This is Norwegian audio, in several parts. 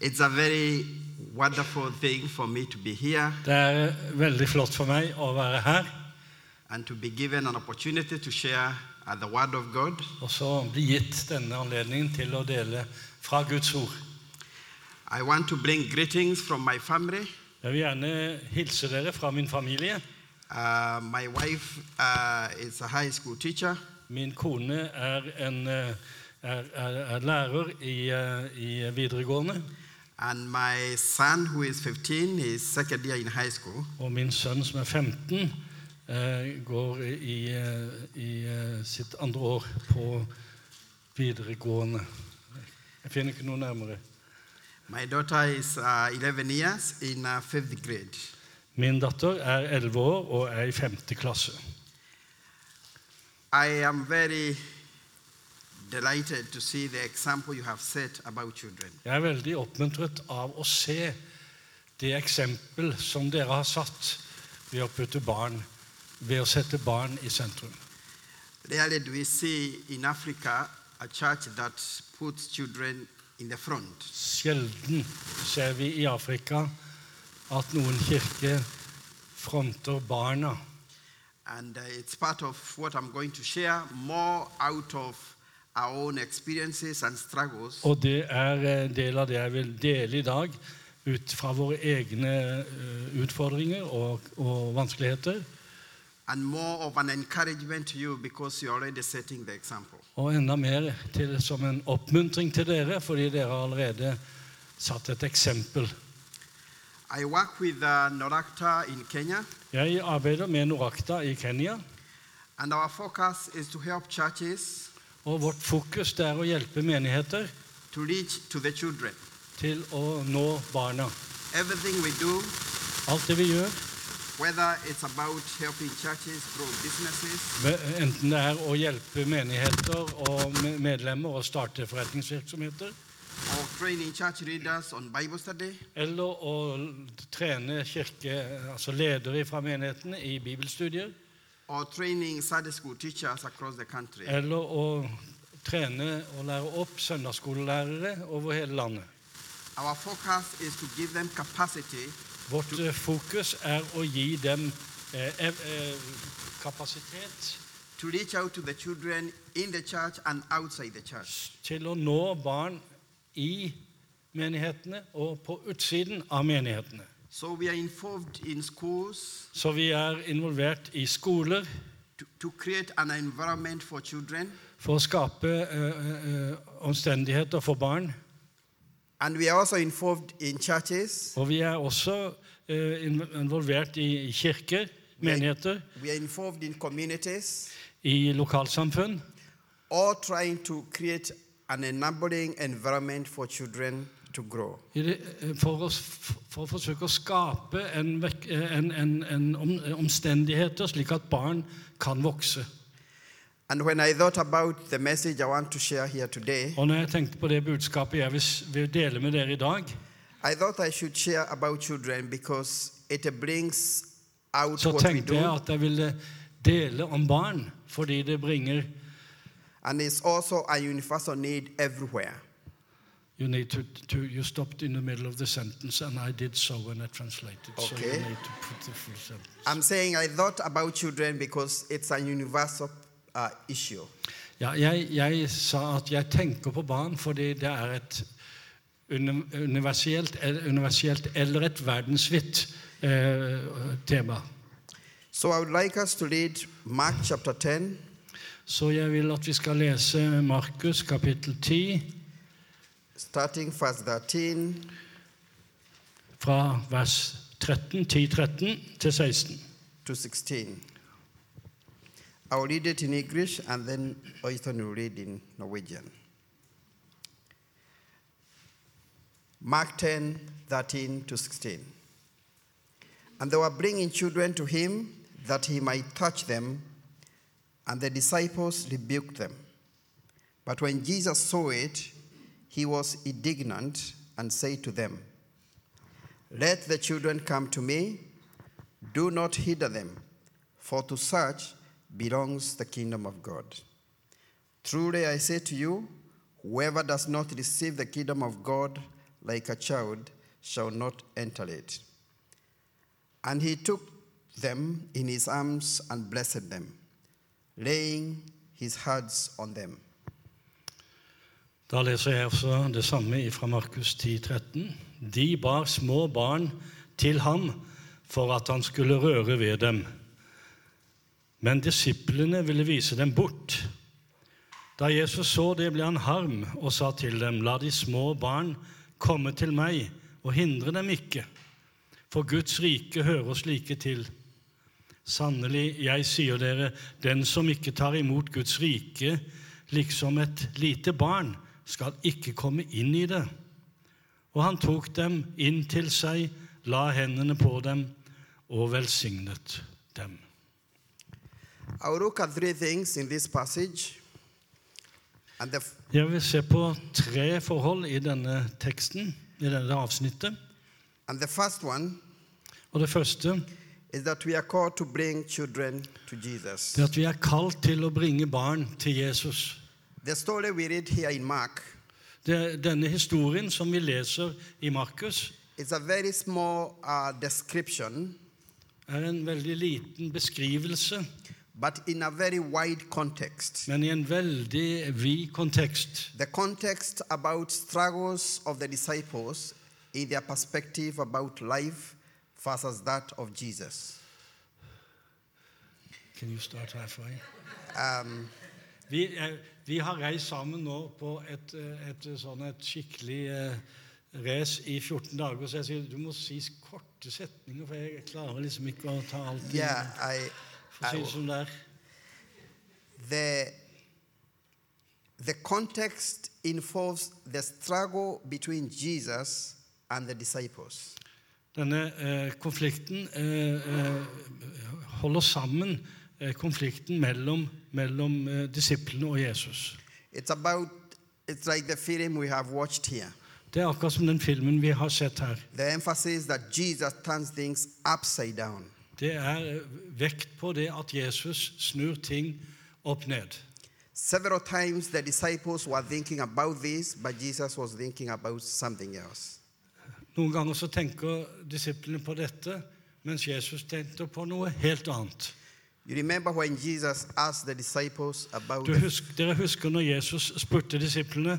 It's a very wonderful thing for me to be here Det er veldig flott for meg å være her and to be given an opportunity to share uh, the Word of God. og så bli gitt denne anledningen til å dele fra Guds ord. I want to bring greetings from my family. Jeg vil gjerne hilse dere fra min familie. Uh, my wife uh, is a high school teacher, Min kone er, en, eh, er, er, er lærer i, eh, i videregående, and my son, who is 15, is second year in high school. og min sønn som er 15, eh, går i, eh, i eh, sitt andre år på videregående. Jeg finner ikke noe nærmere. My daughter is uh, 11 years in uh, fifth grade. Min datter er 11 år og er i 5. klasse. I am very delighted to see the example you have set about children. Jeg er veldig oppmuntret av å se det eksempel som dere har satt ved å putte barn, ved å sette barn i sentrum. Rarely do we see in Africa a church that puts children in the front. Sjelden ser vi i Afrika at noen kirke fronter barna. And uh, it's part of what I'm going to share more out of our own experiences and struggles Og det er en del av det jeg vil dele i dag, ut fra våre egne eh, utfordringer og, og vanskeligheter. and more of an encouragement to you because you're already setting the example. Og enda mer til, som en oppmuntring til dere, fordi dere har allerede satt et eksempel. I work with uh, Norakta in Kenya, Jeg arbeider med Norakta i Kenya, and our focus is to help churches og vårt fokus det er å hjelpe menigheter to reach to the children. til å nå barna. Everything we do, Alt det vi gjør, whether it's about helping churches grow businesses, ve- enten det er å hjelpe menigheter og me- medlemmer å starte forretningsvirksomheter, or training church leaders on Bible study, eller å l- trene kirke, altså ledere fra menighetene i bibelstudier, or training Sunday school teachers across the country. eller å trene og lære opp søndagsskolelærere over hele landet. Our focus is to give them capacity Vårt eh, fokus er å gi dem eh, ev eh, kapasitet to reach out to the children in the church and outside the church. til å nå barn i menighetene og på utsiden av menighetene. So we are involved in schools Så vi er involvert i skoler to, to create an environment for children, for å skape eh, eh, omstendigheter for barn. and we are also involved in churches. Og vi er også eh, in- involvert i kirker, menigheter, We are involved in communities, i lokalsamfunn. all trying to create an enabling environment for children to grow. i det- eh, For å, s- for å forsøke å skape en, vek- eh, en, en, en om, omstendigheter slik at barn kan vokse. And when I thought about the message I want to share here today, Og når jeg tenkte på det budskapet jeg vil s- vil dele med dere i dag, I thought I should share about children because it brings out Så what we do, tenkte jeg at jeg ville dele om barn, fordi det bringer and it's also a universal need everywhere. You need to, to You stopped in the middle of the sentence, and I did so when I translated. So you Okay. need to put the full sentence. I'm saying I thought about children because it's a universal uh, issue. Ja, jeg, jeg sa at jeg tenker på barn fordi det er et uni- universielt, el- universielt eller et verdensvidt eh, tema. So I would like us to read Mark chapter 10, Så jeg vil at vi skal lese Markus kapittel 10 starting verse 13, fra vers 13, 10-13 til 16. to 16. I'll read it in English and then Oyton will read in Norwegian. Mark 10, 13 to 16. And they were bringing children to him that he might touch them, and the disciples rebuked them. But when Jesus saw it, he was indignant and said to them, Let the children come to me. Do not hinder them, for to such belongs the kingdom of God. Truly I say to you, whoever does not receive the kingdom of God like a child shall not enter it. And he took them in his arms and blessed them, laying his hands on them. Da leser jeg også det samme fra Markus 10, 13. De bar små barn til ham for at han skulle røre ved dem. Men disiplene ville vise dem bort. Da Jesus så det, ble han harm og sa til dem, La de små barn komme til meg, og hindre dem ikke, for Guds rike hører slike til. Sannelig, jeg sier dere, den som ikke tar imot Guds rike, liksom et lite barn, skal ikke komme inn i det. Og han tok dem inn til seg, la hendene på dem og velsignet dem. I will look at three things in this passage. And the, f- Jeg vil se på tre forhold i denne teksten, i dette avsnittet. and the first one Og det første is that we are called to bring children to Jesus. det er at vi er kalt til å bringe barn til Jesus. The story we read here in Mark Det, denne historien som vi leser i Markus, is a very small uh, description, er en veldig liten beskrivelse, but in a very wide context. men i en veldig vid kontekst. The context about struggles of the disciples in their perspective about life versus that of Jesus. Can you start halfway? Um, Vi, eh, vi har reist sammen nå på et, eh, et, sånn et skikkelig eh, race i 14 dager, så jeg sier du må si korte setninger, for jeg klarer liksom ikke å ta alt i- yeah, I, For å si det som det er. the, the context involves the struggle between Jesus and the disciples. Denne eh, konflikten eh, eh, holder sammen eh, konflikten mellom, mellom eh, disiplene og Jesus. It's about, it's like the film we have watched here. Det er akkurat som den filmen vi har sett her. The emphasis that Jesus turns things upside down. Det er eh, vekt på det at Jesus snur ting opp ned. Several times the disciples were thinking about this, but Jesus was thinking about something else. Noen ganger så tenker disiplene på dette, mens Jesus tenkte på noe helt annet. You remember when Jesus asked the disciples about, Du the, husk, dere husker når Jesus spurte disiplene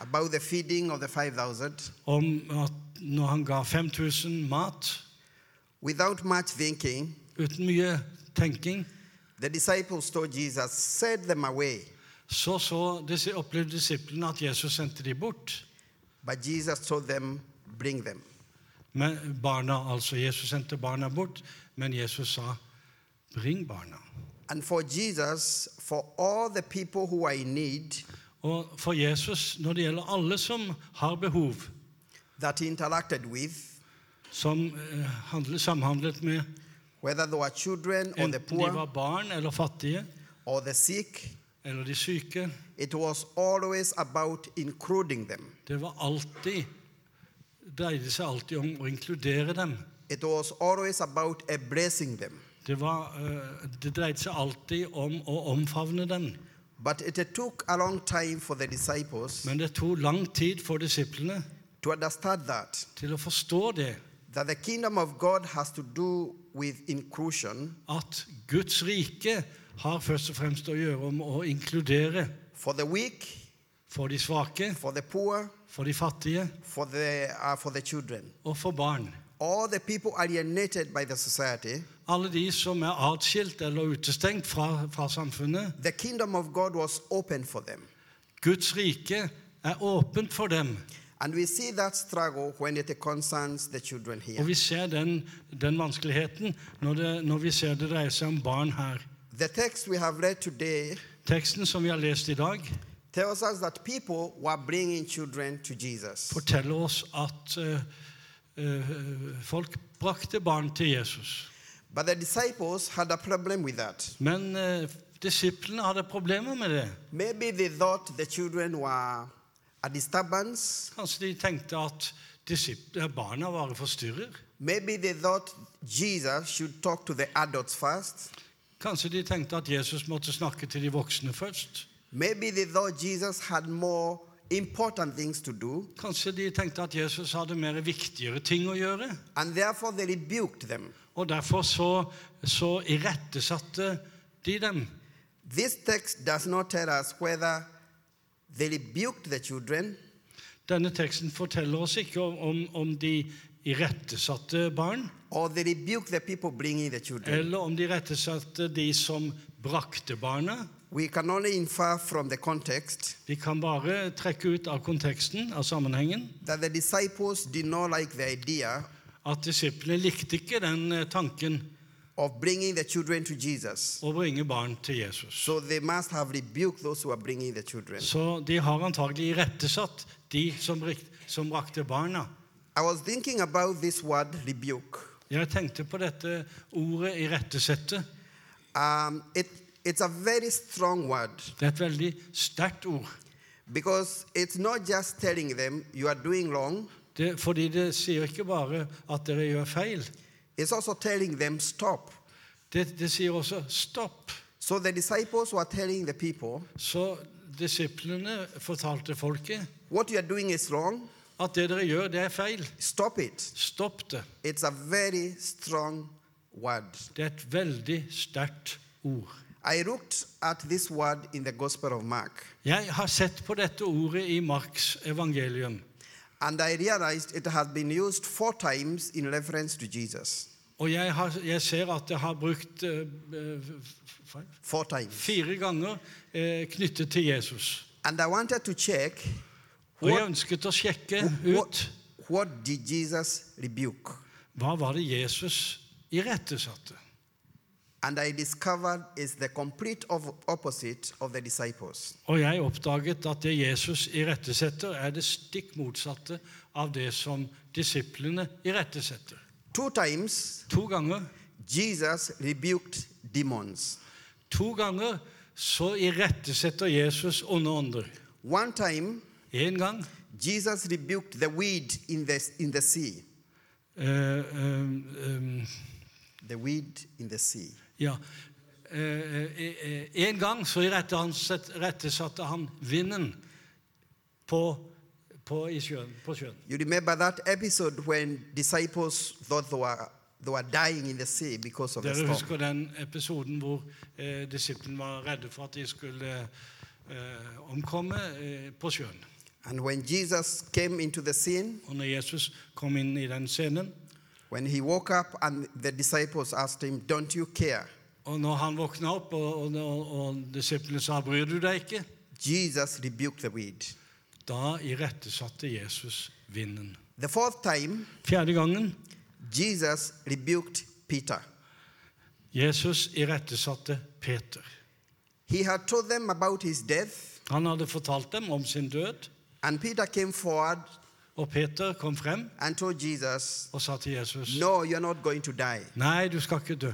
about the feeding of the 5,000? om at når han ga 5000 mat, Without much thinking, uten mye tenking, the disciples told Jesus, Send them away. så, så disi- opplevde disiplene at Jesus sendte de bort. But Jesus told them, Bring them. Men barna, altså Jesus sendte barna bort, men Jesus sa, bring barna. And for Jesus, for all the people who are in need Og for Jesus, når det gjelder alle som har behov, that he interacted with, som eh, handler, samhandlet med whether they were children or the Enten de poor var barn eller fattige, or the sick, eller de syke. it was always about including them. Det var alltid dreide seg alltid om å inkludere dem. It was always about embracing them. Det, var, eh, det dreide seg alltid om å omfavne dem. But it took a long time for the disciples Men det tok lang tid for disiplene to understand that til å forstå det. that the kingdom of God has to do with inclusion At Guds rike har først og fremst å gjøre om å inkludere. for the weak, For de svake, for the poor, for de fattige for the uh, for the children. og for barn. All the people alienated by the society, Alle de som er atskilt eller utestengt fra, fra samfunnet, the kingdom of God was open for them. Guds rike er åpent for dem. And we see that struggle when it concerns the children here. Og vi ser den, den vanskeligheten når, det, når vi ser det dreier seg om barn her. The text we have read today Teksten som vi har lest i dag, tells us that people were bringing children to Jesus. forteller oss at eh, eh, folk brakte barn til Jesus. But the disciples had a problem with that. Men eh, disiplene hadde problemer med det. Maybe they thought the children were a disturbance. Kanskje de tenkte at disip- eh, barna var en forstyrrer. Maybe they thought Jesus should talk to the adults first. Kanskje de tenkte at Jesus måtte snakke til de voksne først. Maybe they thought Jesus had more important things to do, Kanskje de tenkte at Jesus hadde mer viktigere ting å gjøre. and therefore they rebuked them. Og derfor så, så irettesatte de dem. This text does not tell us whether they rebuked the children Denne teksten forteller oss ikke om, om, om de irettesatte barn, or they rebuked the people bringing the children. eller om de irettesatte de som brakte barna. We can only infer from the context Vi kan bare trekke ut av konteksten, av sammenhengen, that the disciples did not like the idea at disiplene likte ikke den eh, tanken of bringing the children to Jesus. å bringe barn til Jesus. So they must have rebuked those who are bringing the children. Så de har antagelig irettesatt de som, brik- som brakte barna. I was thinking about this word rebuke. Jeg tenkte på dette ordet irettesette. Um, it, it's a very strong word Det er et veldig sterkt ord. because it's not just telling them you are doing wrong, Det, fordi det sier ikke bare at dere gjør feil. it's also telling them stop. Det, det sier også stopp. So the disciples were telling the people, Så disiplene fortalte folket what you are doing is wrong, at det dere gjør, det er feil. stop it. Stopp det. It's a very strong word. Det er et veldig sterkt ord. I looked at this word in the Gospel of Mark Jeg har sett på dette ordet i Marks evangelium, and I realized it has been used four times in reference to Jesus. og jeg, har, jeg ser at jeg har brukt eh, eh, Four times. fire ganger eh, knyttet til Jesus. And I wanted to check Og jeg ønsket å sjekke ut what, what did Jesus rebuke? hva var det Jesus irettesatte. And I discovered it's the complete of- opposite of the disciples. Og jeg oppdaget at det Jesus irettesetter, er det stikk motsatte av det som disiplene irettesetter. Two times, To ganger. Jesus rebuked demons. To ganger så irettesetter Jesus onde ånder. One time, Én gang Jesus rebuked the weed in the, in the sea. eh, eh, eh, The weed in the sea. Ja. Eh, eh, eh, en gang så irette- han set- rettesatte han vinden på, på, i sjøen, på sjøen. You remember that episode when disciples thought they were, they were dying in the sea because of the Dere storm. husker den episoden hvor eh, disiplene var redde for at de skulle eh, omkomme eh, på sjøen. And when Jesus came into the scene, Og når Jesus kom inn i den scenen, when he woke up and the disciples asked him, Don't you care? og når han våkna opp, og, og, og disiplene sa 'bryr du deg ikke', Jesus rebuked the weed. da irettesatte Jesus vinden. The fourth time, Fjerde gangen Jesus rebuked Peter. Jesus irettesatte Peter. He had told them about his death, Han hadde fortalt dem om sin død, and Peter came forward og Peter kom frem and told Jesus, og sa til Jesus No, you're not going to die. Nei, du skal ikke dø.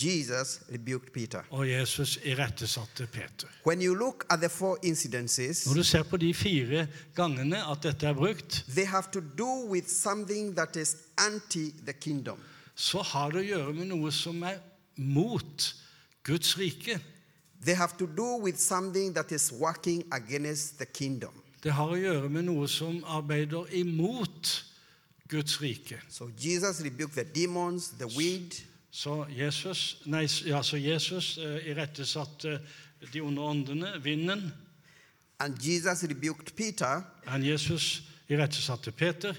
Jesus rebuked Peter. Og Jesus irettesatte Peter. When you look at the four incidences, Når du ser på de fire gangene at dette er brukt, they have to do with something that is anti the kingdom. så har det å gjøre med noe som er mot Guds rike. They have to do with something that is working against the kingdom. Det har å gjøre med noe som arbeider imot Guds rike. So Jesus rebuked the demons, the weed, Så Jesus, nei, ja, så Jesus eh, irettesatte eh, de onde åndene, vinden. and Jesus rebuked Peter. Men Jesus irettesatte Peter.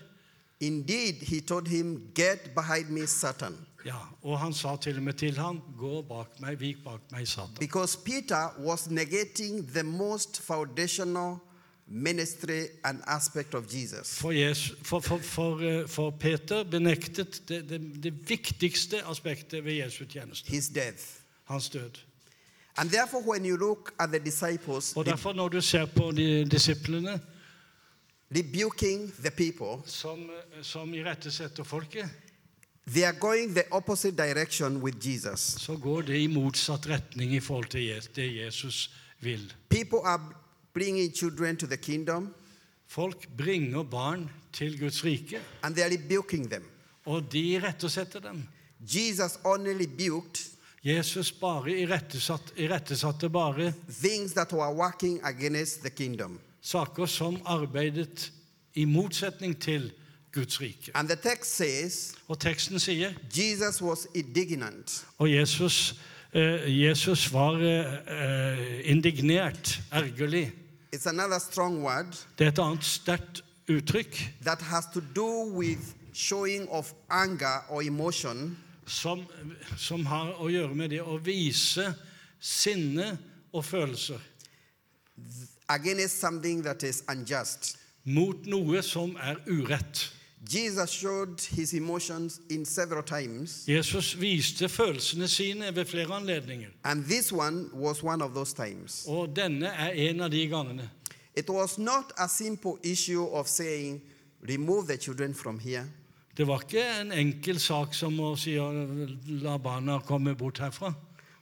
Indeed, he told him, Get behind me, Satan. Ja, og han sa til og med til ham, gå bak meg, vik bak meg, Satan. Because Peter was negating the most foundational ministry and aspect of Jesus. For, Jesus, for, for, for, eh, for Peter benektet det, det, det viktigste aspektet ved Jesu tjeneste, His death. hans død. And therefore, when you look at the disciples Og derfor når du ser på de disiplene rebuking the people, som, eh, som irettesetter folket, they are going the opposite direction with Jesus. så går det i motsatt retning i forhold til Je- det Jesus vil. People are bringing children to the kingdom Folk bringer barn til Guds rike, and they are rebuking them. og de irettesetter dem. Jesus only rebuked Jesus bare irettesatt, irettesatte bare things that were working against the kingdom. saker som arbeidet i motsetning til Guds rike. And the text says Og teksten sier Jesus was indignant. Og Jesus, eh, Jesus var eh, indignert, ergerlig. It's another strong word Det er et annet sterkt uttrykk that has to do with showing of anger or emotion som, som har å gjøre med det å vise sinne og følelser against something that is unjust. mot noe som er urett. Jesus showed his emotions in several times, Jesus viste følelsene sine ved flere anledninger, and this one was one of those times. og denne er en av de gangene. It was not a simple issue of saying, remove the children from here. Det var ikke en enkel sak som å si «Ja, la barna komme bort herfra.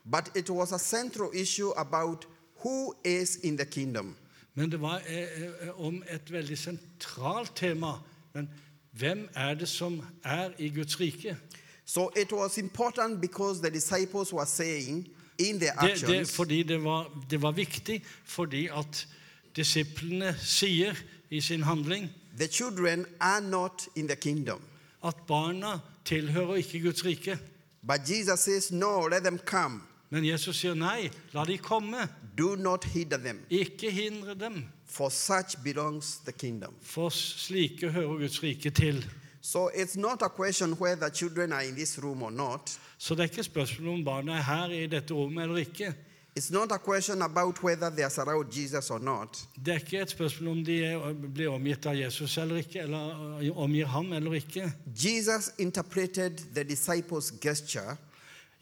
But it was a central issue about who is in the kingdom. Men det var eh, eh, om et veldig sentralt tema. Men hvem er det som er i Guds rike? So it was important because the disciples were saying in their Det, det, actions, fordi det, var, det var viktig fordi at disiplene sier i sin handling the children are not in the kingdom. at barna tilhører ikke Guds rike. But Jesus says, no, let them come. Men Jesus sier nei, la de komme. Do not hinder them, Ikke hindre dem, for such belongs the kingdom. for slike hører Guds rike til. So it's not a question whether children are in this room or not. Så det er ikke spørsmål om barna er her i dette rommet eller ikke. It's not a question about whether they are surrounded Jesus or not. Det er ikke et spørsmål om de er, blir omgitt av Jesus eller ikke, eller eh, omgir ham eller ikke. Jesus interpreted the disciples' gesture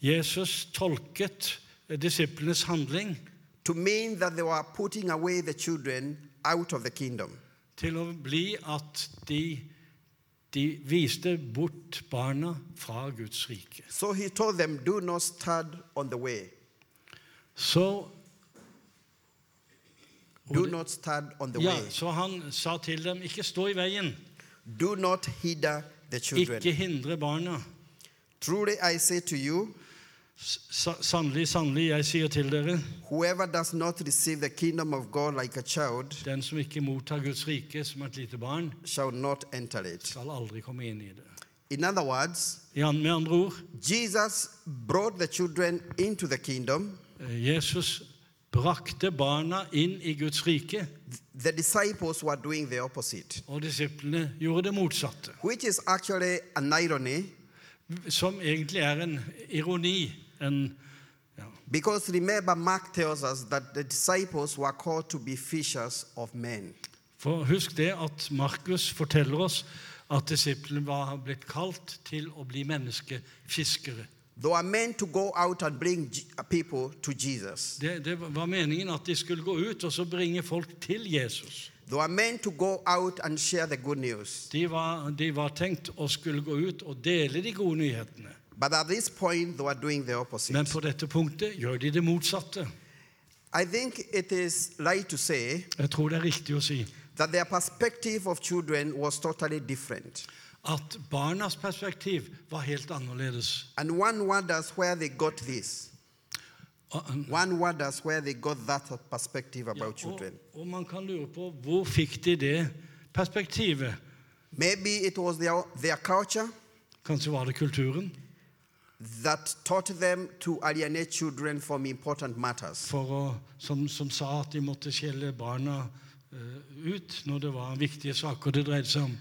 Jesus tolket disiplenes handling to mean that they were putting away the children out of the kingdom. til å bli at de, de viste bort barna fra Guds rike. So he told them, Do not stand on the way. Så, Do not stand on the ja, way. så han sa til dem, ikke stå i veien, Do not hinder the children. ikke hindre barna. Truly I say to you, Sa- Sannelig, sannelig, jeg sier til dere, whoever does not receive the kingdom of God like a child den som ikke mottar Guds rike som et lite barn, shall not enter it. skal aldri komme inn i det. In other words, I an- Med andre ord, Jesus brought the children into the kingdom. Eh, Jesus brakte barna inn i Guds rike, The disciples were doing the opposite, og disiplene gjorde det motsatte. which is actually an irony Som egentlig er en ironi. En, ja. because remember, Mark tells us that the disciples were called to be fishers of men. For husk det at Markus forteller oss at disiplene var blitt kalt til å bli menneskefiskere. They were meant to go out and bring Je- people to Jesus, Det, det var meningen at de skulle gå ut og så bringe folk til Jesus. they were meant to go out and share the good news. De var, de var tenkt å skulle gå ut og dele de gode nyhetene. But at this point, they were doing the Men opposite. på dette punktet gjør de det motsatte. I think it is right to say Jeg tror det er riktig å si that their perspective of children was totally different. at barnas perspektiv var helt annerledes. And one wonders where they got this. Og, One wonders where they got that perspective ja, about og, children. og man kan lure på hvor fikk de det perspektivet? Maybe it was their, their culture Kanskje var det kulturen that taught them to alienate children from important matters. for å, som, som sa at de måtte skjelle barna eh, ut når det var viktige saker det dreide seg om.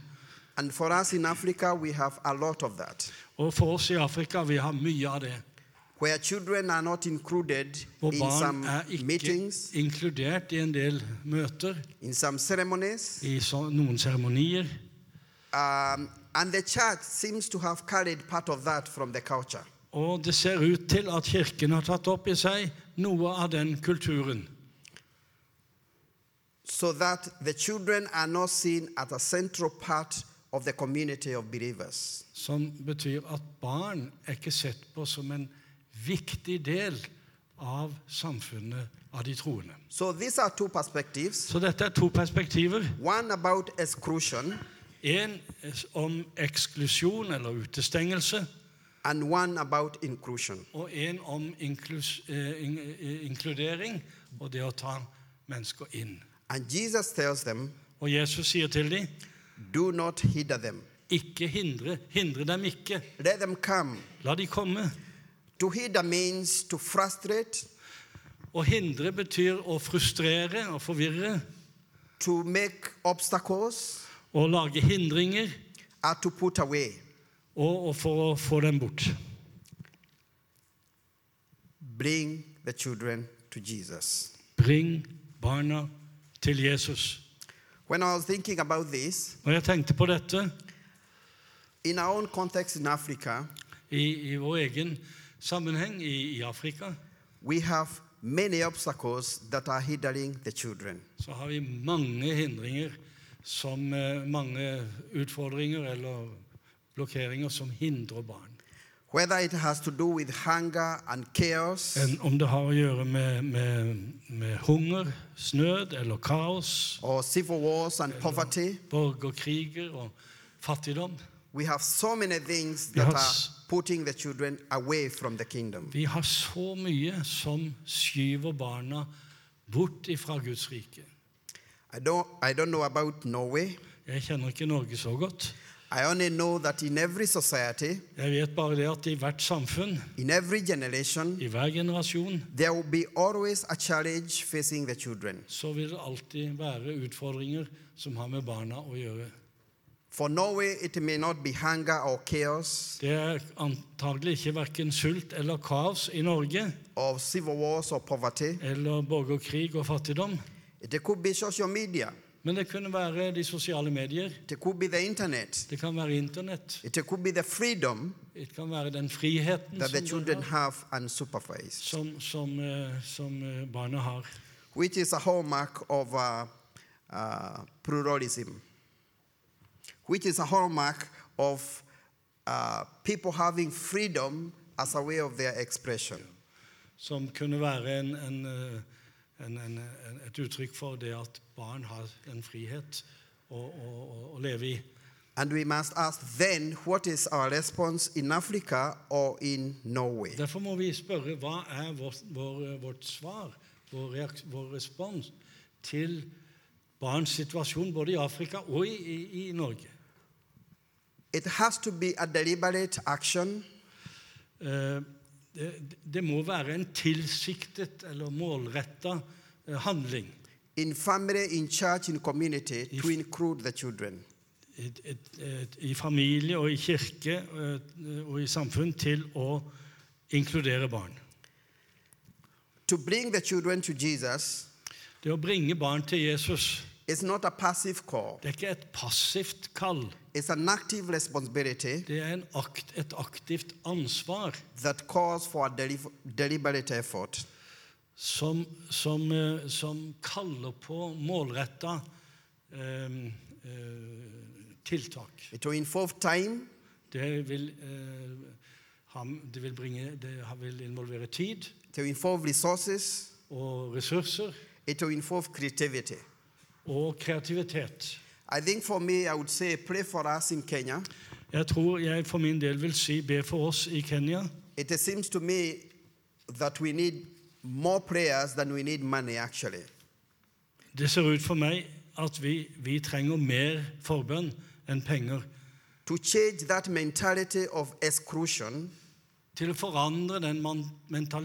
And for us in Africa, we have a lot of that, Og for oss i Afrika, vi har mye av det. where children are not included Hvor in barn some er ikke meetings, inkludert i en del møter, in some ceremonies. i så, noen seremonier. Um, and the church seems to have carried part of that from the culture. Og det ser ut til at Kirken har tatt opp i seg noe av den kulturen. so that the children are not seen as a central part of the community of believers. Som betyr at barn er ikke sett på som en viktig del av samfunnet av de troende. So these are two perspectives Så dette er to perspektiver. one about exclusion En om eksklusjon eller utestengelse, and one about inclusion. og en om inklus, eh, in, eh, inkludering og det å ta mennesker inn. And Jesus tells them, Og Jesus sier til dem, Do not hinder them. ikke hindre, hindre dem ikke. Let them come. La de komme. To hinder means to frustrate, Å hindre betyr å frustrere og forvirre. to make obstacles, Å lage hindringer or to put away. og, og for å få dem bort. Bring the children to Jesus. Bring barna til Jesus. When I was thinking about this, Når jeg tenkte på dette in our own context in Africa, i, i vår egen sammenheng i, i Afrika, we have many obstacles that are hindering the children. så har vi mange hindringer som eh, Mange utfordringer eller blokkeringer som hindrer barn. Whether it has to do with hunger and chaos, Enn om det har å gjøre med, med, med hunger, snød eller kaos, or civil wars and poverty, borgerkriger og fattigdom. we have so many things that Yes. are putting the children away from the kingdom. Vi har så mye som skyver barna bort ifra Guds rike. I don't, I don't know about Norway. Jeg kjenner ikke Norge så godt. I only know that in every society, Jeg vet bare det at i hvert samfunn, in every generation, i hver generasjon, there will be always a challenge facing the children. så vil det alltid være utfordringer som har med barna å gjøre. For Norway, it may not be hunger or chaos Det er antagelig ikke verken sult eller kaos i Norge, or civil wars or poverty. eller borgerkrig og fattigdom, It could be social media. men det kunne være de sosiale medier, It could be the internet. det kan være Internett, It could be the freedom det kan være den friheten that the som, barna children have unsupervised, som, som, eh, som eh, barna har. which is a hallmark of uh, uh, pluralism, which is a hallmark of uh, people having freedom as a way of their expression. Som kunne være en, en, eh, en, en, en, et uttrykk for det at barn har en frihet å, å, å- å leve i. And we must ask then what is our response in Africa or in Norway? Derfor må vi spørre hva er vårt, vår, vårt svar, vår, reaks, vår respons til barns situasjon både i Afrika og i, i, i Norge. It has to be a deliberate action Eh, Det, det må være en tilsiktet eller målretta eh, handling. in family, in church, in community to include the children. I, et, et, I familie og i kirke eh, og i samfunn til å inkludere barn. To bring the children to Jesus Det å bringe barn til Jesus is not a passive call, det er ikke et passivt kall. it's an active responsibility Det er en akt, et aktivt ansvar. that calls for a deli- deliberate effort. som, som, eh, som kaller på målretta eh, eh, tiltak. It will involve time, Det vil, eh, ha, det, vil bringe, det ha- vil involvere tid it will involve resources, og ressurser it will involve creativity. og kreativitet. I think for me, I would say pray for us in Kenya. Jeg tror jeg for min del vil si be for oss i Kenya. It seems to me that we need more prayers than we need money, actually. Det ser ut for meg at vi, vi trenger mer forbønn enn penger To change that mentality of exclusion til å forandre den man-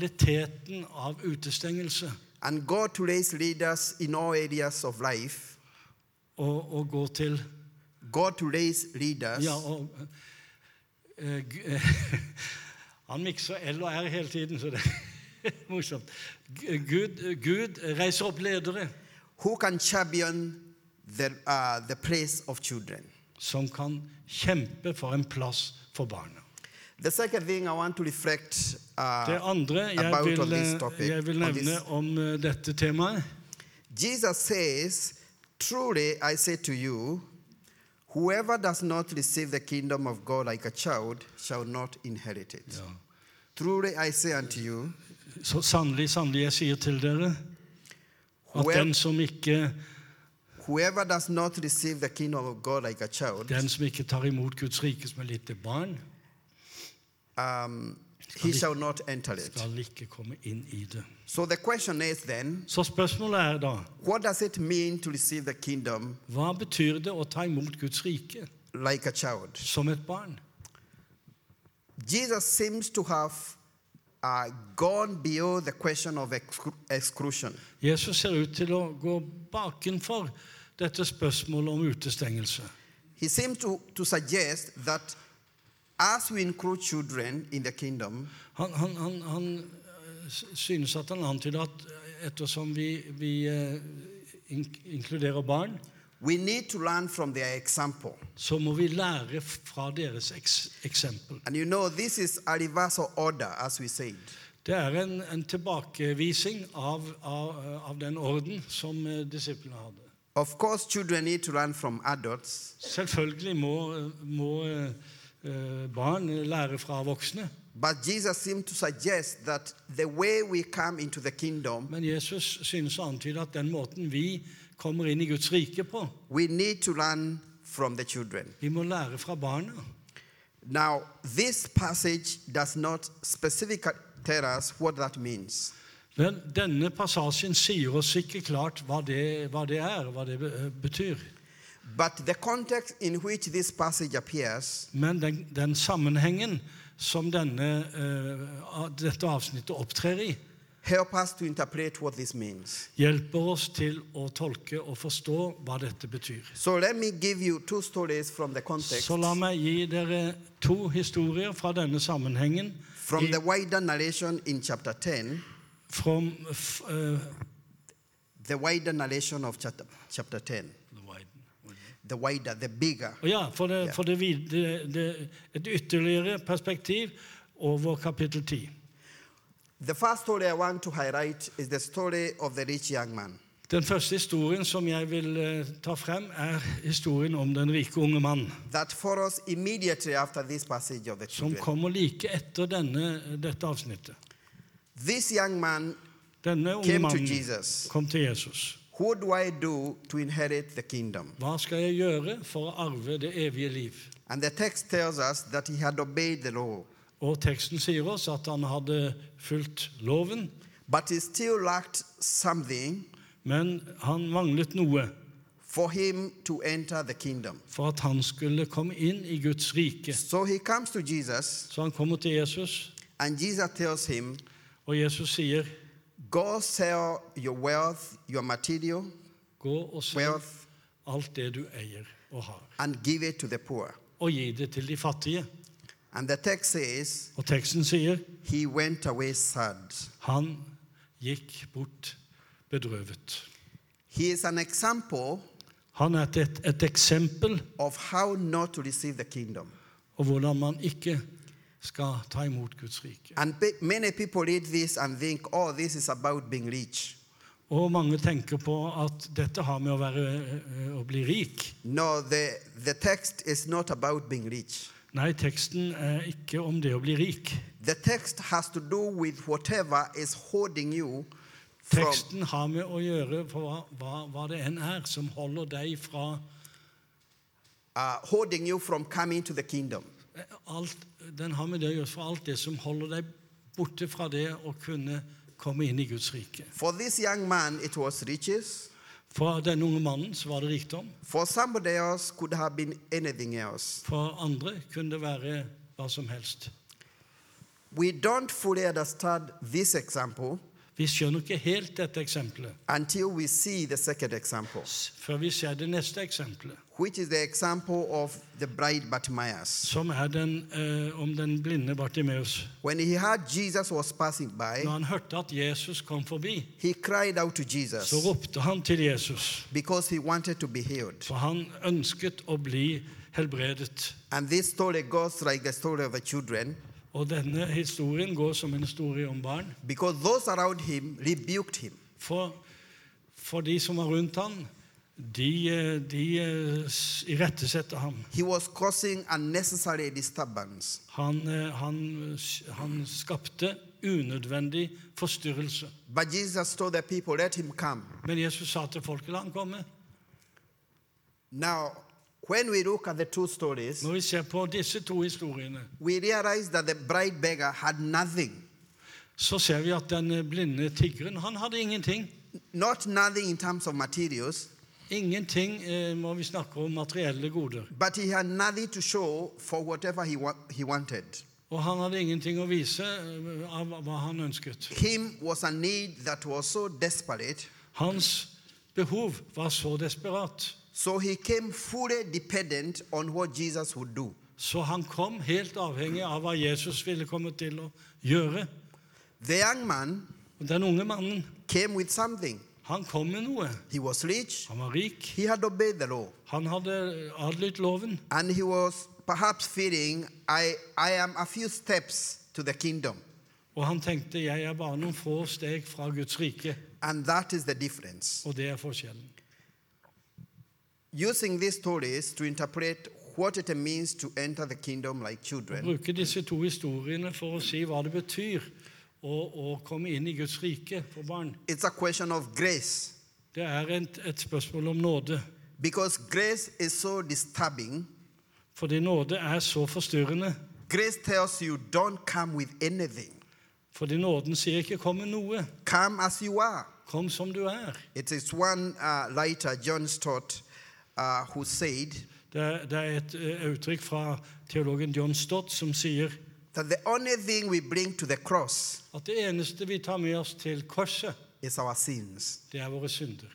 mentaliteten av utestengelse. and God to raise leaders in all areas of life. Og, og gå til God to raise leaders Ja, og eh, Gu- Han mikser L og R hele tiden, så det er morsomt. Gu- Gud, Gud reiser opp ledere who can champion the, uh, the place of children. som kan kjempe for en plass for barna. The second thing I want to reflect Det uh, andre jeg about on vil, eh, this topic, jeg vil on this- nevne om eh, dette temaet Jesus says, Truly I say to you, whoever does not receive the kingdom of God like a child shall not inherit it. Truly I say unto you, Så sannelig, sannelig, jeg sier til dere at Whoever- den som ikke, whoever does not receive the kingdom of God like a child den som ikke tar imot Guds rike som et lite barn, um, he shall not enter it. skal ikke komme inn i det. So the question is then, Så spørsmålet er da what does it mean to receive the kingdom hva betyr det å ta imot Guds rike like a child? som et barn? Jesus seems to have uh, gone beyond the question of excru- exclusion. Jesus ser ut til å gå bakenfor dette spørsmålet om utestengelse. He seems to, to suggest that as we include children in the kingdom, Han, han, han, han eh, s- synes at han antyder at ettersom vi, vi eh, ink- inkluderer barn, we need to learn from their example. så må vi lære fra deres eks eksempel. And you know, this is a reversal order, as we said. Det er en, en tilbakevising av, av, eh, av den orden som eh, disiplene hadde. Of course, children need to learn from adults, Selvfølgelig må, må eh, eh, barn lære fra voksne, but Jesus seemed to suggest that the way we come into the kingdom, men Jesus synes å antyde at den måten vi kommer inn i Guds rike på, we need to learn from the children. vi må lære fra barna. Now, this passage does not specifically tell us what that means. Men denne passasjen sier oss ikke klart hva det, hva det er, hva det be- eh, betyr. But the context in which this passage appears Men den, den sammenhengen som denne, eh, av- dette avsnittet opptrer i, help us to interpret what this means. hjelper oss til å tolke og forstå hva dette betyr. So let me give you two stories from the context, Så la meg gi dere to historier fra denne sammenhengen from the wider narration in chapter 10, fra, f, eh, the wider narration of chapter, chapter 10, the wider, the bigger. Og ja, for, det, for det, vid- det, det, et ytterligere perspektiv over kapittel 10. The first story I want to highlight is the story of the rich young man. Den første historien som jeg vil eh, ta frem, er historien om den rike unge mann, That follows immediately after this passage of the som children. kommer like etter denne, dette avsnittet. This young man Denne unge came to mannen Jesus. kom til Jesus. What do I do to inherit the kingdom? Hva skal jeg gjøre for å arve det evige liv? And the text tells us that he had obeyed the law, Og teksten sier oss at han hadde fulgt loven, but he still lacked something men han manglet noe for him to enter the kingdom. for at han skulle komme inn i Guds rike. So he comes to Jesus, Så han kommer til Jesus, and Jesus tells him, og Jesus sier, Go sell your wealth, your material gå og selg wealth, alt det du eier og har, and give it to the poor. og gi det til de fattige. And the text says, Og teksten sier, He went away sad. han gikk bort bedrøvet. He is an example Han er et, et eksempel of how not to receive the kingdom. på hvordan man ikke skal ta imot Guds rike. And pe- many people read this and think, oh, this is about being rich. Og mange tenker på at dette har med å, være, eh, å bli rik. No, the, the text is not about being rich. Nei, teksten er ikke om det å bli rik. The text has to do with whatever is holding you from, Teksten har med å gjøre for hva, hva, hva det enn er som holder deg fra uh, holding you from coming to the kingdom. eh, alt, Den har med det å gjøre for alt det som holder deg borte fra det å kunne komme inn i Guds rike. For this young man, it was riches. For denne unge mannen så var det rikdom. For somebody else, could have been anything else. For andre kunne det være hva som helst. We don't fully understand this example Vi skjønner ikke helt dette eksempelet until we see the second example, s- før vi ser det neste eksempelet. which is the example of the bride Bartimaeus. som er den, eh, om den blinde Bartimeus. When he heard Jesus was passing by, Når han hørte at Jesus kom forbi, he cried out to så Jesus ropte han til Jesus, because he wanted to be healed. for han ønsket å bli helbredet. And this story goes like the story of the children, Og denne historien går som en historie om barn. because those around him rebuked him. For, for de som var rundt han, de, eh, de eh, s- irettesetter ham. He was causing unnecessary disturbance. Han, eh, han, s- han skapte unødvendig forstyrrelse. But Jesus told the people, Let him come. Men Jesus sa til folket, la han komme. Now, When we look at the two stories, Når vi ser på disse to historiene, we realize that the bride beggar had nothing. så ser vi at den blinde tiggeren, han hadde ingenting. Not nothing in terms of materials, Ingenting eh, når vi snakker om materielle goder. but he had nothing to show for whatever he, wa- he wanted. Og han hadde ingenting å vise eh, av hva han ønsket. Him was a need that was so desperate, Hans behov var så desperat, so he came fully dependent on what Jesus would do. så han kom helt avhengig av hva Jesus ville komme til å gjøre. The young man Og den unge mannen, came with something. han kom med noe. He was rich, Han var rik, he had obeyed the law, han hadde adlydt loven, and he was perhaps feeling, I, I am a few steps to the kingdom. og han tenkte 'jeg er bare noen få steg fra Guds rike'. And that is the difference. Og det er forskjellen. Using these stories to interpret what it means to enter the kingdom like children, Bruke disse to historiene for å si hva det betyr å, å komme inn i Guds rike for barn. it's a question of grace. Det er et, et spørsmål om nåde. Because grace is so disturbing. Fordi nåde er så forstyrrende. Grace tells you don't come with anything, Fordi nåden sier ikke 'kom med noe', come as you are. kom som du er. It is one uh, writer, John Stott, uh, who said Det er, det er et eh, uttrykk fra teologen John Stott som sier that the only thing we bring to the cross at det eneste vi tar med oss til korset, is our sins. det er våre synder.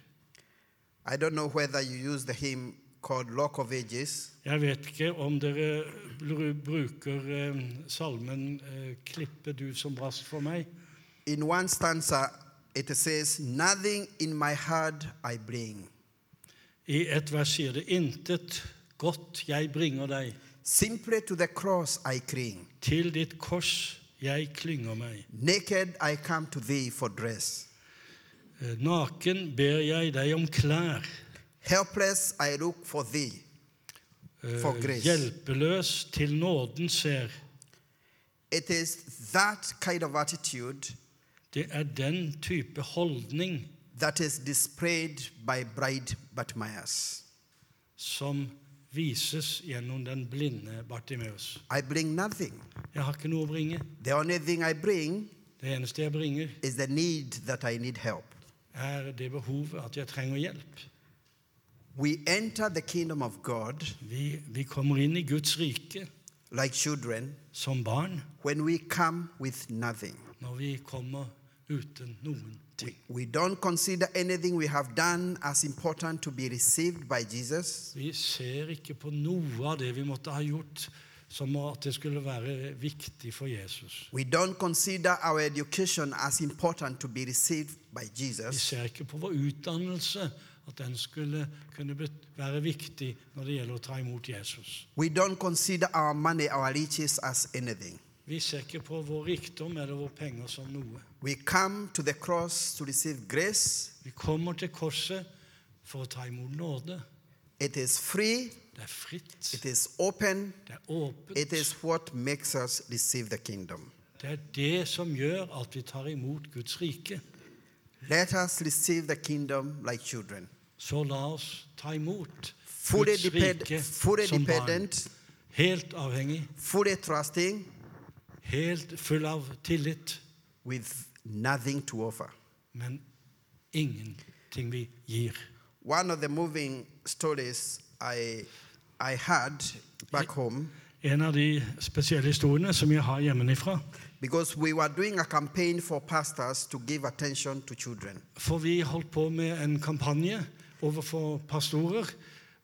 I don't know whether you use the hymn called Lock of Ages. Jeg vet ikke om dere br- bruker eh, salmen eh, 'Klippe du som brast for meg'. In one stanza, it says, Nothing in my heart I bring. I et vers sier det 'Intet godt jeg bringer deg, Simply to the cross I cling. til ditt kors jeg klynger meg'. Naked I come to thee for dress. Eh, 'Naken ber jeg deg om klær'. Helpless I look for thee. Eh, For grace. Hjelpeløs til nåden ser. It is that kind of attitude Det er den type holdning that is displayed by Bride Bartimaeus. som vises gjennom den blinde Bartimeus. I bring nothing. Jeg har ikke noe å bringe. The only thing I bring Det eneste jeg bringer, is the need that I need help. er det behovet at jeg trenger hjelp. We enter the kingdom of God Vi, vi kommer inn i Guds rike like children som barn when we come with nothing. når vi kommer uten noen ting. We don't consider anything we have done as important to be received by Jesus. Vi ser ikke på noe av det vi måtte ha gjort, som at det skulle være viktig for Jesus. We don't consider our education as important to be received by Vi Jesus. ser ikke på vår utdannelse, at den skulle kunne bet- være viktig når det gjelder å ta imot Jesus. We don't consider our money, our riches as anything. Vi ser ikke på vår rikdom eller våre penger som noe. We come to the cross to receive grace. Vi kommer til korset for å ta imot nåde. It is free, Det er fritt, it is open, det er åpent. it is what makes us receive the kingdom. Det er det som gjør at vi tar imot Guds rike. Let us receive the kingdom like children, Så la oss ta imot fully, Guds depend- rike fully som barn. dependent, Helt avhengig, fully trusting, helt full av tillit, with nothing to offer. men ingenting vi gir. One of the moving stories I, I had back home, En av de spesielle historiene som jeg har hjemmefra. because we were doing a campaign for pastors to give attention to children. For vi holdt på med en kampanje overfor pastorer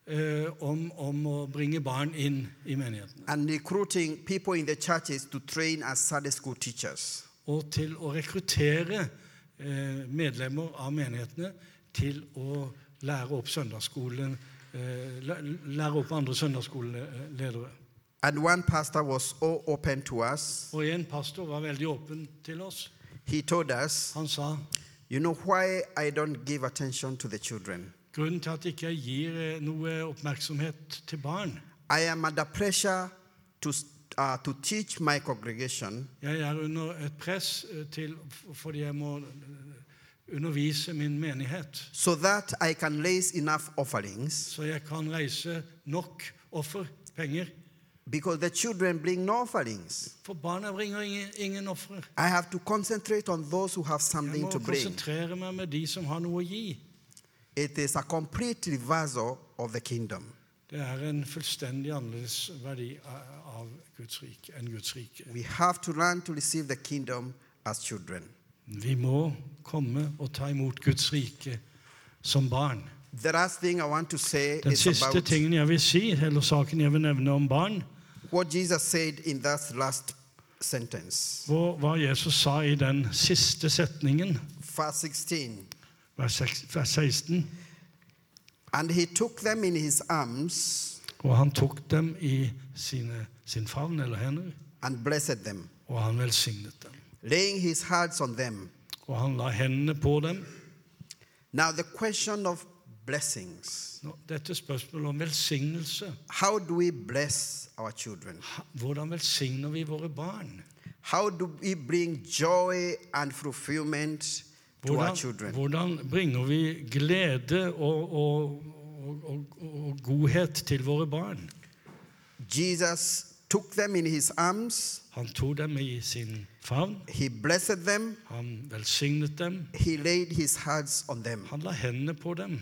eh, om, om å bringe barn inn i menigheten. and recruiting people in the churches to train as Sunday school teachers. Og til å rekruttere eh, medlemmer av menighetene til å lære opp søndagsskolen, eh, læ- lære opp andre søndagsskoleledere. And one pastor was all open to us. Og en pastor var veldig åpen til oss. He told us, Han sa You know why I don't give attention to the children? grunnen til at jeg ikke gir eh, noe oppmerksomhet til barn, I am under pressure to, uh, to teach my congregation Jeg er under et press eh, til, f- fordi jeg må eh, undervise min menighet, so that I can raise enough offerings, så jeg kan reise nok offer, penger. because the children bring no offerings. For barna bringer ingen, ingen ofre. I have to concentrate on those who have Jeg something må to bring. konsentrere meg med de som har noe å gi. It is a complete reversal of the kingdom. Det er en fullstendig annerledes verdi av av Guds rike enn Guds rike. We have to learn to receive the kingdom as children. Vi må komme og ta imot Guds rike som barn. The last thing I want to say Den is siste about tingen jeg vil si, eller saken jeg vil nevne om barn, what Jesus said in that last sentence. hvor, hva Jesus sa i den siste setningen, Verse 16. vers seks- vers 16, And he took them in his arms og han tok dem i sine, sin favn eller hender, and blessed them, og han velsignet dem. laying his hands on them. Og han la hendene på dem. Now, the question of blessings Nå, Dette spørsmålet om velsignelse. how do we bless our children? Ha- Hvordan velsigner vi våre barn? How do we bring joy and fulfillment to our Hvordan, children? hvordan bringer vi glede og, og, og, og, og godhet til våre barn? Jesus took them in his arms, Han tok dem i sin favn, he blessed them, han velsignet dem, he laid his hands on them. han la hendene på dem.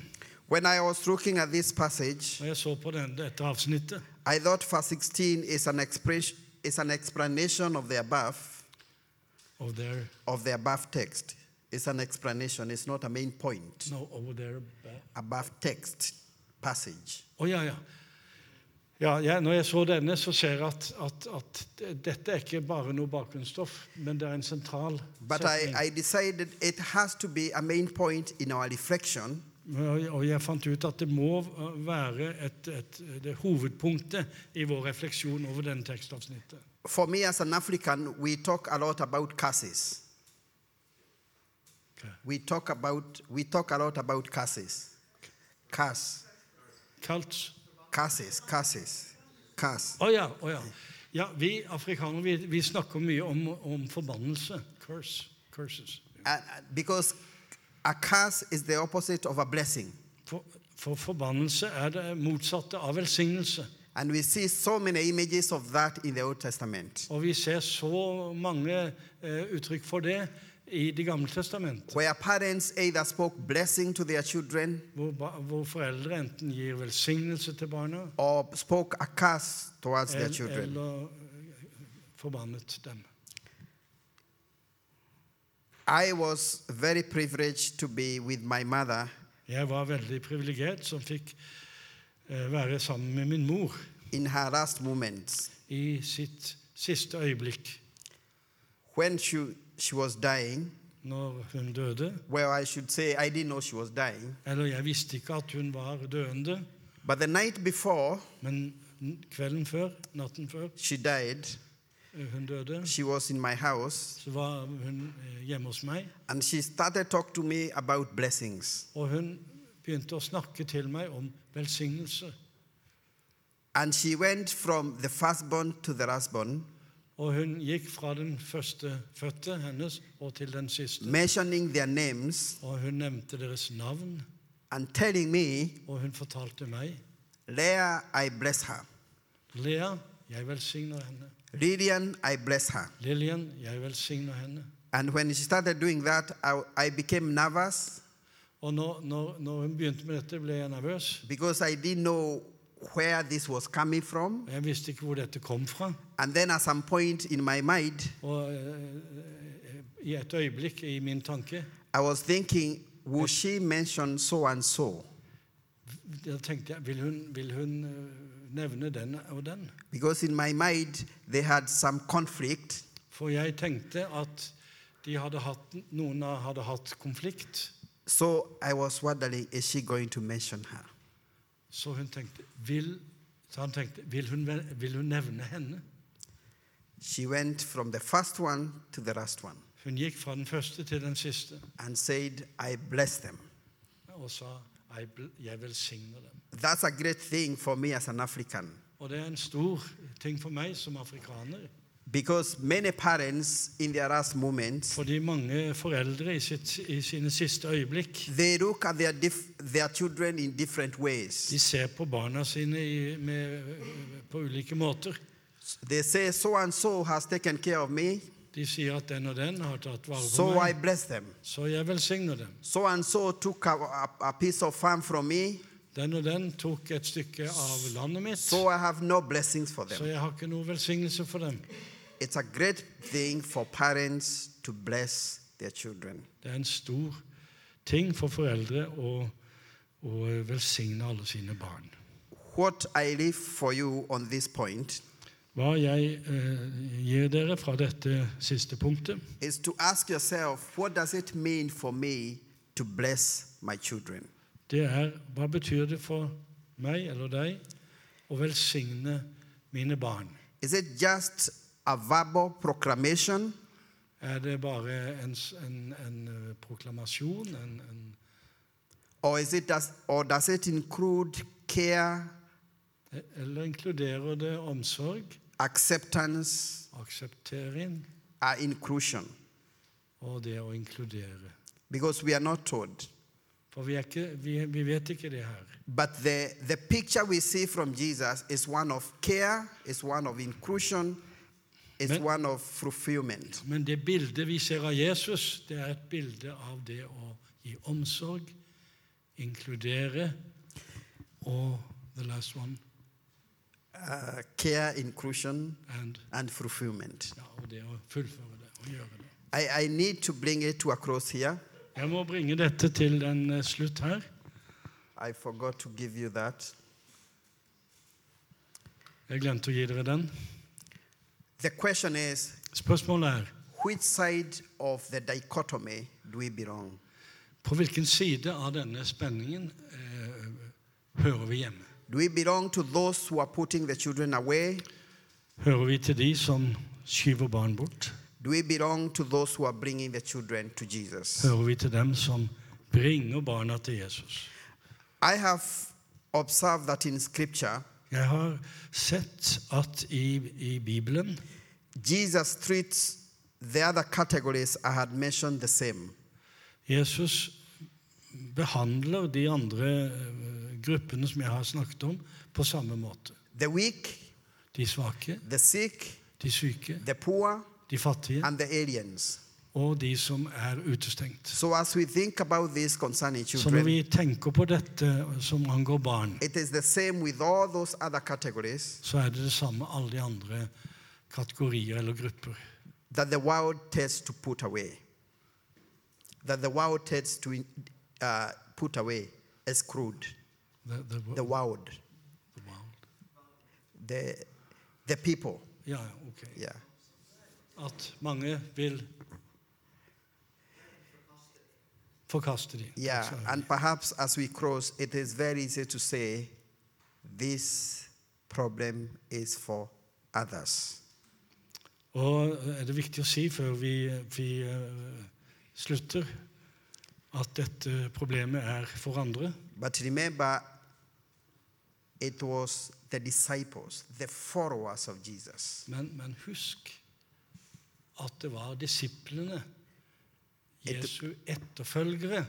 When I was looking at this passage, Når jeg så på den, dette avsnittet, I thought verse 16 is an, express, is an explanation of the above, over there, of the above text. It's an explanation, it's not a main point. no, over there back. Above text, passage. Å, ja, ja. Ja, jeg- når jeg så denne, så ser jeg at, at, at dette er ikke bare noe bakgrunnsstoff, men det er en sentral But I, setning. I decided it has to be a main point in our reflection Og og jeg fant ut at det må være et, et, det hovedpunktet i vår refleksjon over denne tekstavsnittet. For me, as an African, we talk a lot about curses. Okay. We talk about we talk a lot about curses, curse, Kalt curses, curses, curse. Å ja, å ja. ja. Vi afrikanere vi, vi snakker mye om, om forbannelse. Curse. Curses. And- Uh, because a curse is the opposite of a blessing, For, for forbannelse er det motsatte av velsignelse. and we see so many images of that in the Old Testament, Og vi ser så mange eh, uttrykk for det i Det gamle testamentet, where parents either spoke blessing to their children hvor, ba- hvor foreldre enten gir velsignelse til barna or spoke a curse towards their eller, children. eller eh, forbannet dem. I was very privileged to be with my mother Jeg var veldig privilegert som fikk eh, være sammen med min mor in her last moments. i sitt siste øyeblikk, when she, she was dying, når hun døde. well, I should say I didn't know she was dying, Eller jeg visste ikke at hun var døende, but the night before men n- kvelden før, natten før she died, eh, hun døde, she was in my house så var hun eh, hjemme hos meg, and she started talking to me about blessings. og hun begynte å snakke til meg om velsignelse. And she went from the firstborn to the lastborn, Og hun gikk fra den førstefødte hennes og til den siste. mentioning their names Og hun nevnte deres navn, and telling me, og hun fortalte meg Leah, I bless her. Lea, jeg velsigner henne. Lillian, I bless her. Lillian, jeg velsigner henne. And when she started doing that, I, I became nervous Og når, når, når hun begynte med dette, ble jeg nervøs. because I didn't know where this was coming from. Jeg visste ikke hvor dette kom fra. And then at some point in my mind, Og eh, i et øyeblikk i min tanke I was thinking, will she mention so and so? da tenkte jeg, vil hun, vil hun eh, nevne den og den? Because in my mind, they had some conflict. For jeg tenkte at de hadde hatt, noen av hadde hatt konflikt. So I was wondering, is she going to mention her? Så hun tenkte, vil, så han tenkte vil, hun, vel- vil hun nevne henne? She went from the first one to the last one Hun gikk fra den første til den siste and said, I bless them. og sa jeg, bl- jeg velsigner dem. That's a great thing for me as an African Og det er en stor ting for meg som afrikaner. Because many parents, in their last moments, Fordi mange foreldre i, sitt, i sine siste øyeblikk they look at their, dif- their children in different de ways. ser på barna sine i, med, på ulike måter. They say, So and so has taken care of me, De sier at den og den har tatt vare på so I meg, bless them. så jeg velsigner dem. So and so took a, a, a piece of farm from me, Den og den tok et stykke av landet mitt, so I have no blessings for så them. jeg har ikke noe velsignelse for dem. It's a great thing for parents to bless their children. Det er en stor ting for foreldre å, å velsigne alle sine barn. What I leave for you on this point Hva jeg eh, gir dere fra dette siste punktet, is to ask yourself what does it mean for me to bless my children? det er hva betyr det for meg eller deg å velsigne mine barn? Is it just a verbal proclamation Er det bare en, s- en, en eh, proklamasjon? En, en, or is it does, or does it include care, eller inkluderer det omsorg, acceptance, akseptering uh, inclusion? og det å inkludere? Because we are not told. For vi, er ikke, vi, vi vet ikke det her. But the, the picture we see from Jesus is one of care, is one of inclusion, is Men- one of fulfillment. Men det bildet vi ser av Jesus, det er et bilde av det å gi omsorg, inkludere og the last one Uh, care, inclusion, and, and fulfillment. ja, og det å fullføre det og gjøre det. I, I need to bring it to a cross here. Jeg må bringe dette til en eh, slutt her. I forgot to give you that. Jeg glemte å gi dere den. The question is Spørsmålet er which side of the dichotomy do we belong? på hvilken side av denne spenningen eh, hører vi hjemme? Do we belong to those who are putting the children away? Hører vi til de som skyver barn bort? Do we belong to those who are bringing the children to Jesus? Hører vi til dem som bringer barna til Jesus? I have observed that in scripture, Jeg har sett at i, i Bibelen Jesus treats the other categories I had mentioned the same. Jesus behandler de andre eh, gruppene som jeg har snakket om, på samme måte. The weak, De svake, the sick, de syke, the poor, de fattige and the aliens. og de som er utestengt. So, as we think about this concerning Så når children, vi tenker på dette som angår barn, it is the same with all those other categories så er det det samme alle de andre kategorier eller grupper. that the world tends to put away. That the world tends to uh, put away, exclude. The, the, The world, the world. the, the people. Ja, ok. Yeah. At mange vil forkaste Altså. de. Yeah, Så- and perhaps as we cross, it is very easy to say this problem is for others. Og er det viktig å si før vi, vi eh, slutter, at dette problemet er for andre. But remember, it was the disciples, the followers of Jesus. Men, men husk at det var disiplene, Etter- Jesu etterfølgere,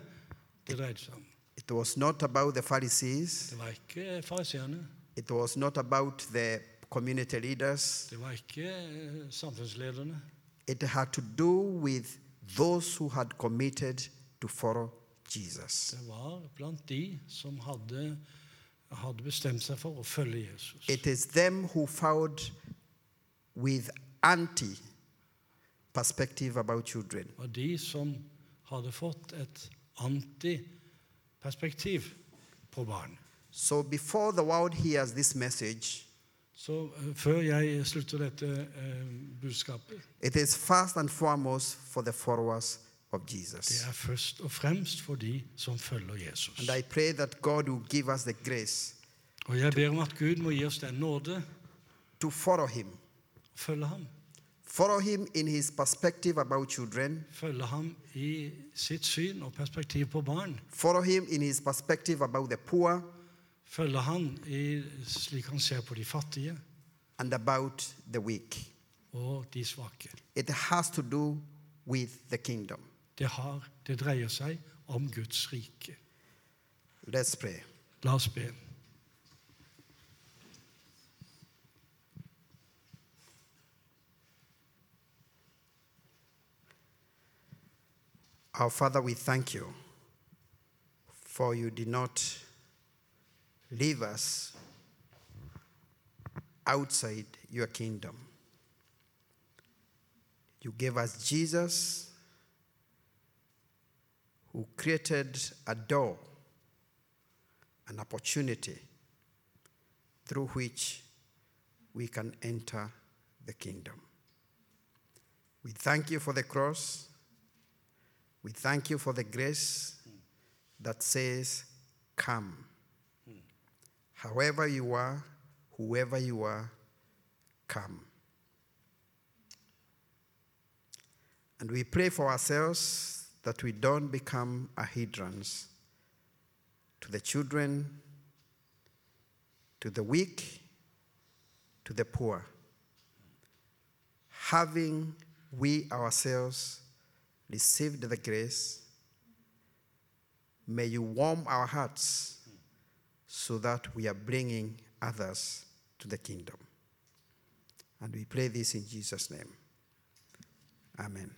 det dreide seg om. It was not about the Pharisees, Det var ikke fariseerne, it was not about the community leaders. det var ikke eh, samfunnslederne. It had to do with those who had committed to follow Jesus. Det var blant de som hadde, hadde bestemt seg for å følge Jesus. It is them who found with anti perspective about children. var de som hadde fått et antiperspektiv på barn. So before the world hears this message, Så eh, før jeg slutter dette eh, budskapet it is first and foremost for the followers of Det Jesus. er først og fremst for de som følger And Jesus. I pray that God will give us the grace Og jeg ber om at Gud må gi oss den nåde to follow Him. å følge ham. Follow Him in His perspective about children, Følge ham i sitt syn og perspektiv på barn. follow Him in His perspective about the poor, Følge ham i, slik han ser på de fattige and about the weak. og de svake. It has to do with the kingdom. Det, har, det dreier seg om Guds rike. Let's pray. La oss be. Our Father, we thank you for you did not leave us outside your kingdom. You gave us Jesus, who created a door, an opportunity through which we can enter the kingdom. We thank you for the cross. We thank you for the grace that says, Come. However you are, whoever you are, come. And we pray for ourselves that we don't become a hindrance to the children, to the weak, to the poor. Having we ourselves received the grace, may you warm our hearts so that we are bringing others to the kingdom. And we pray this in Jesus' name. Amen.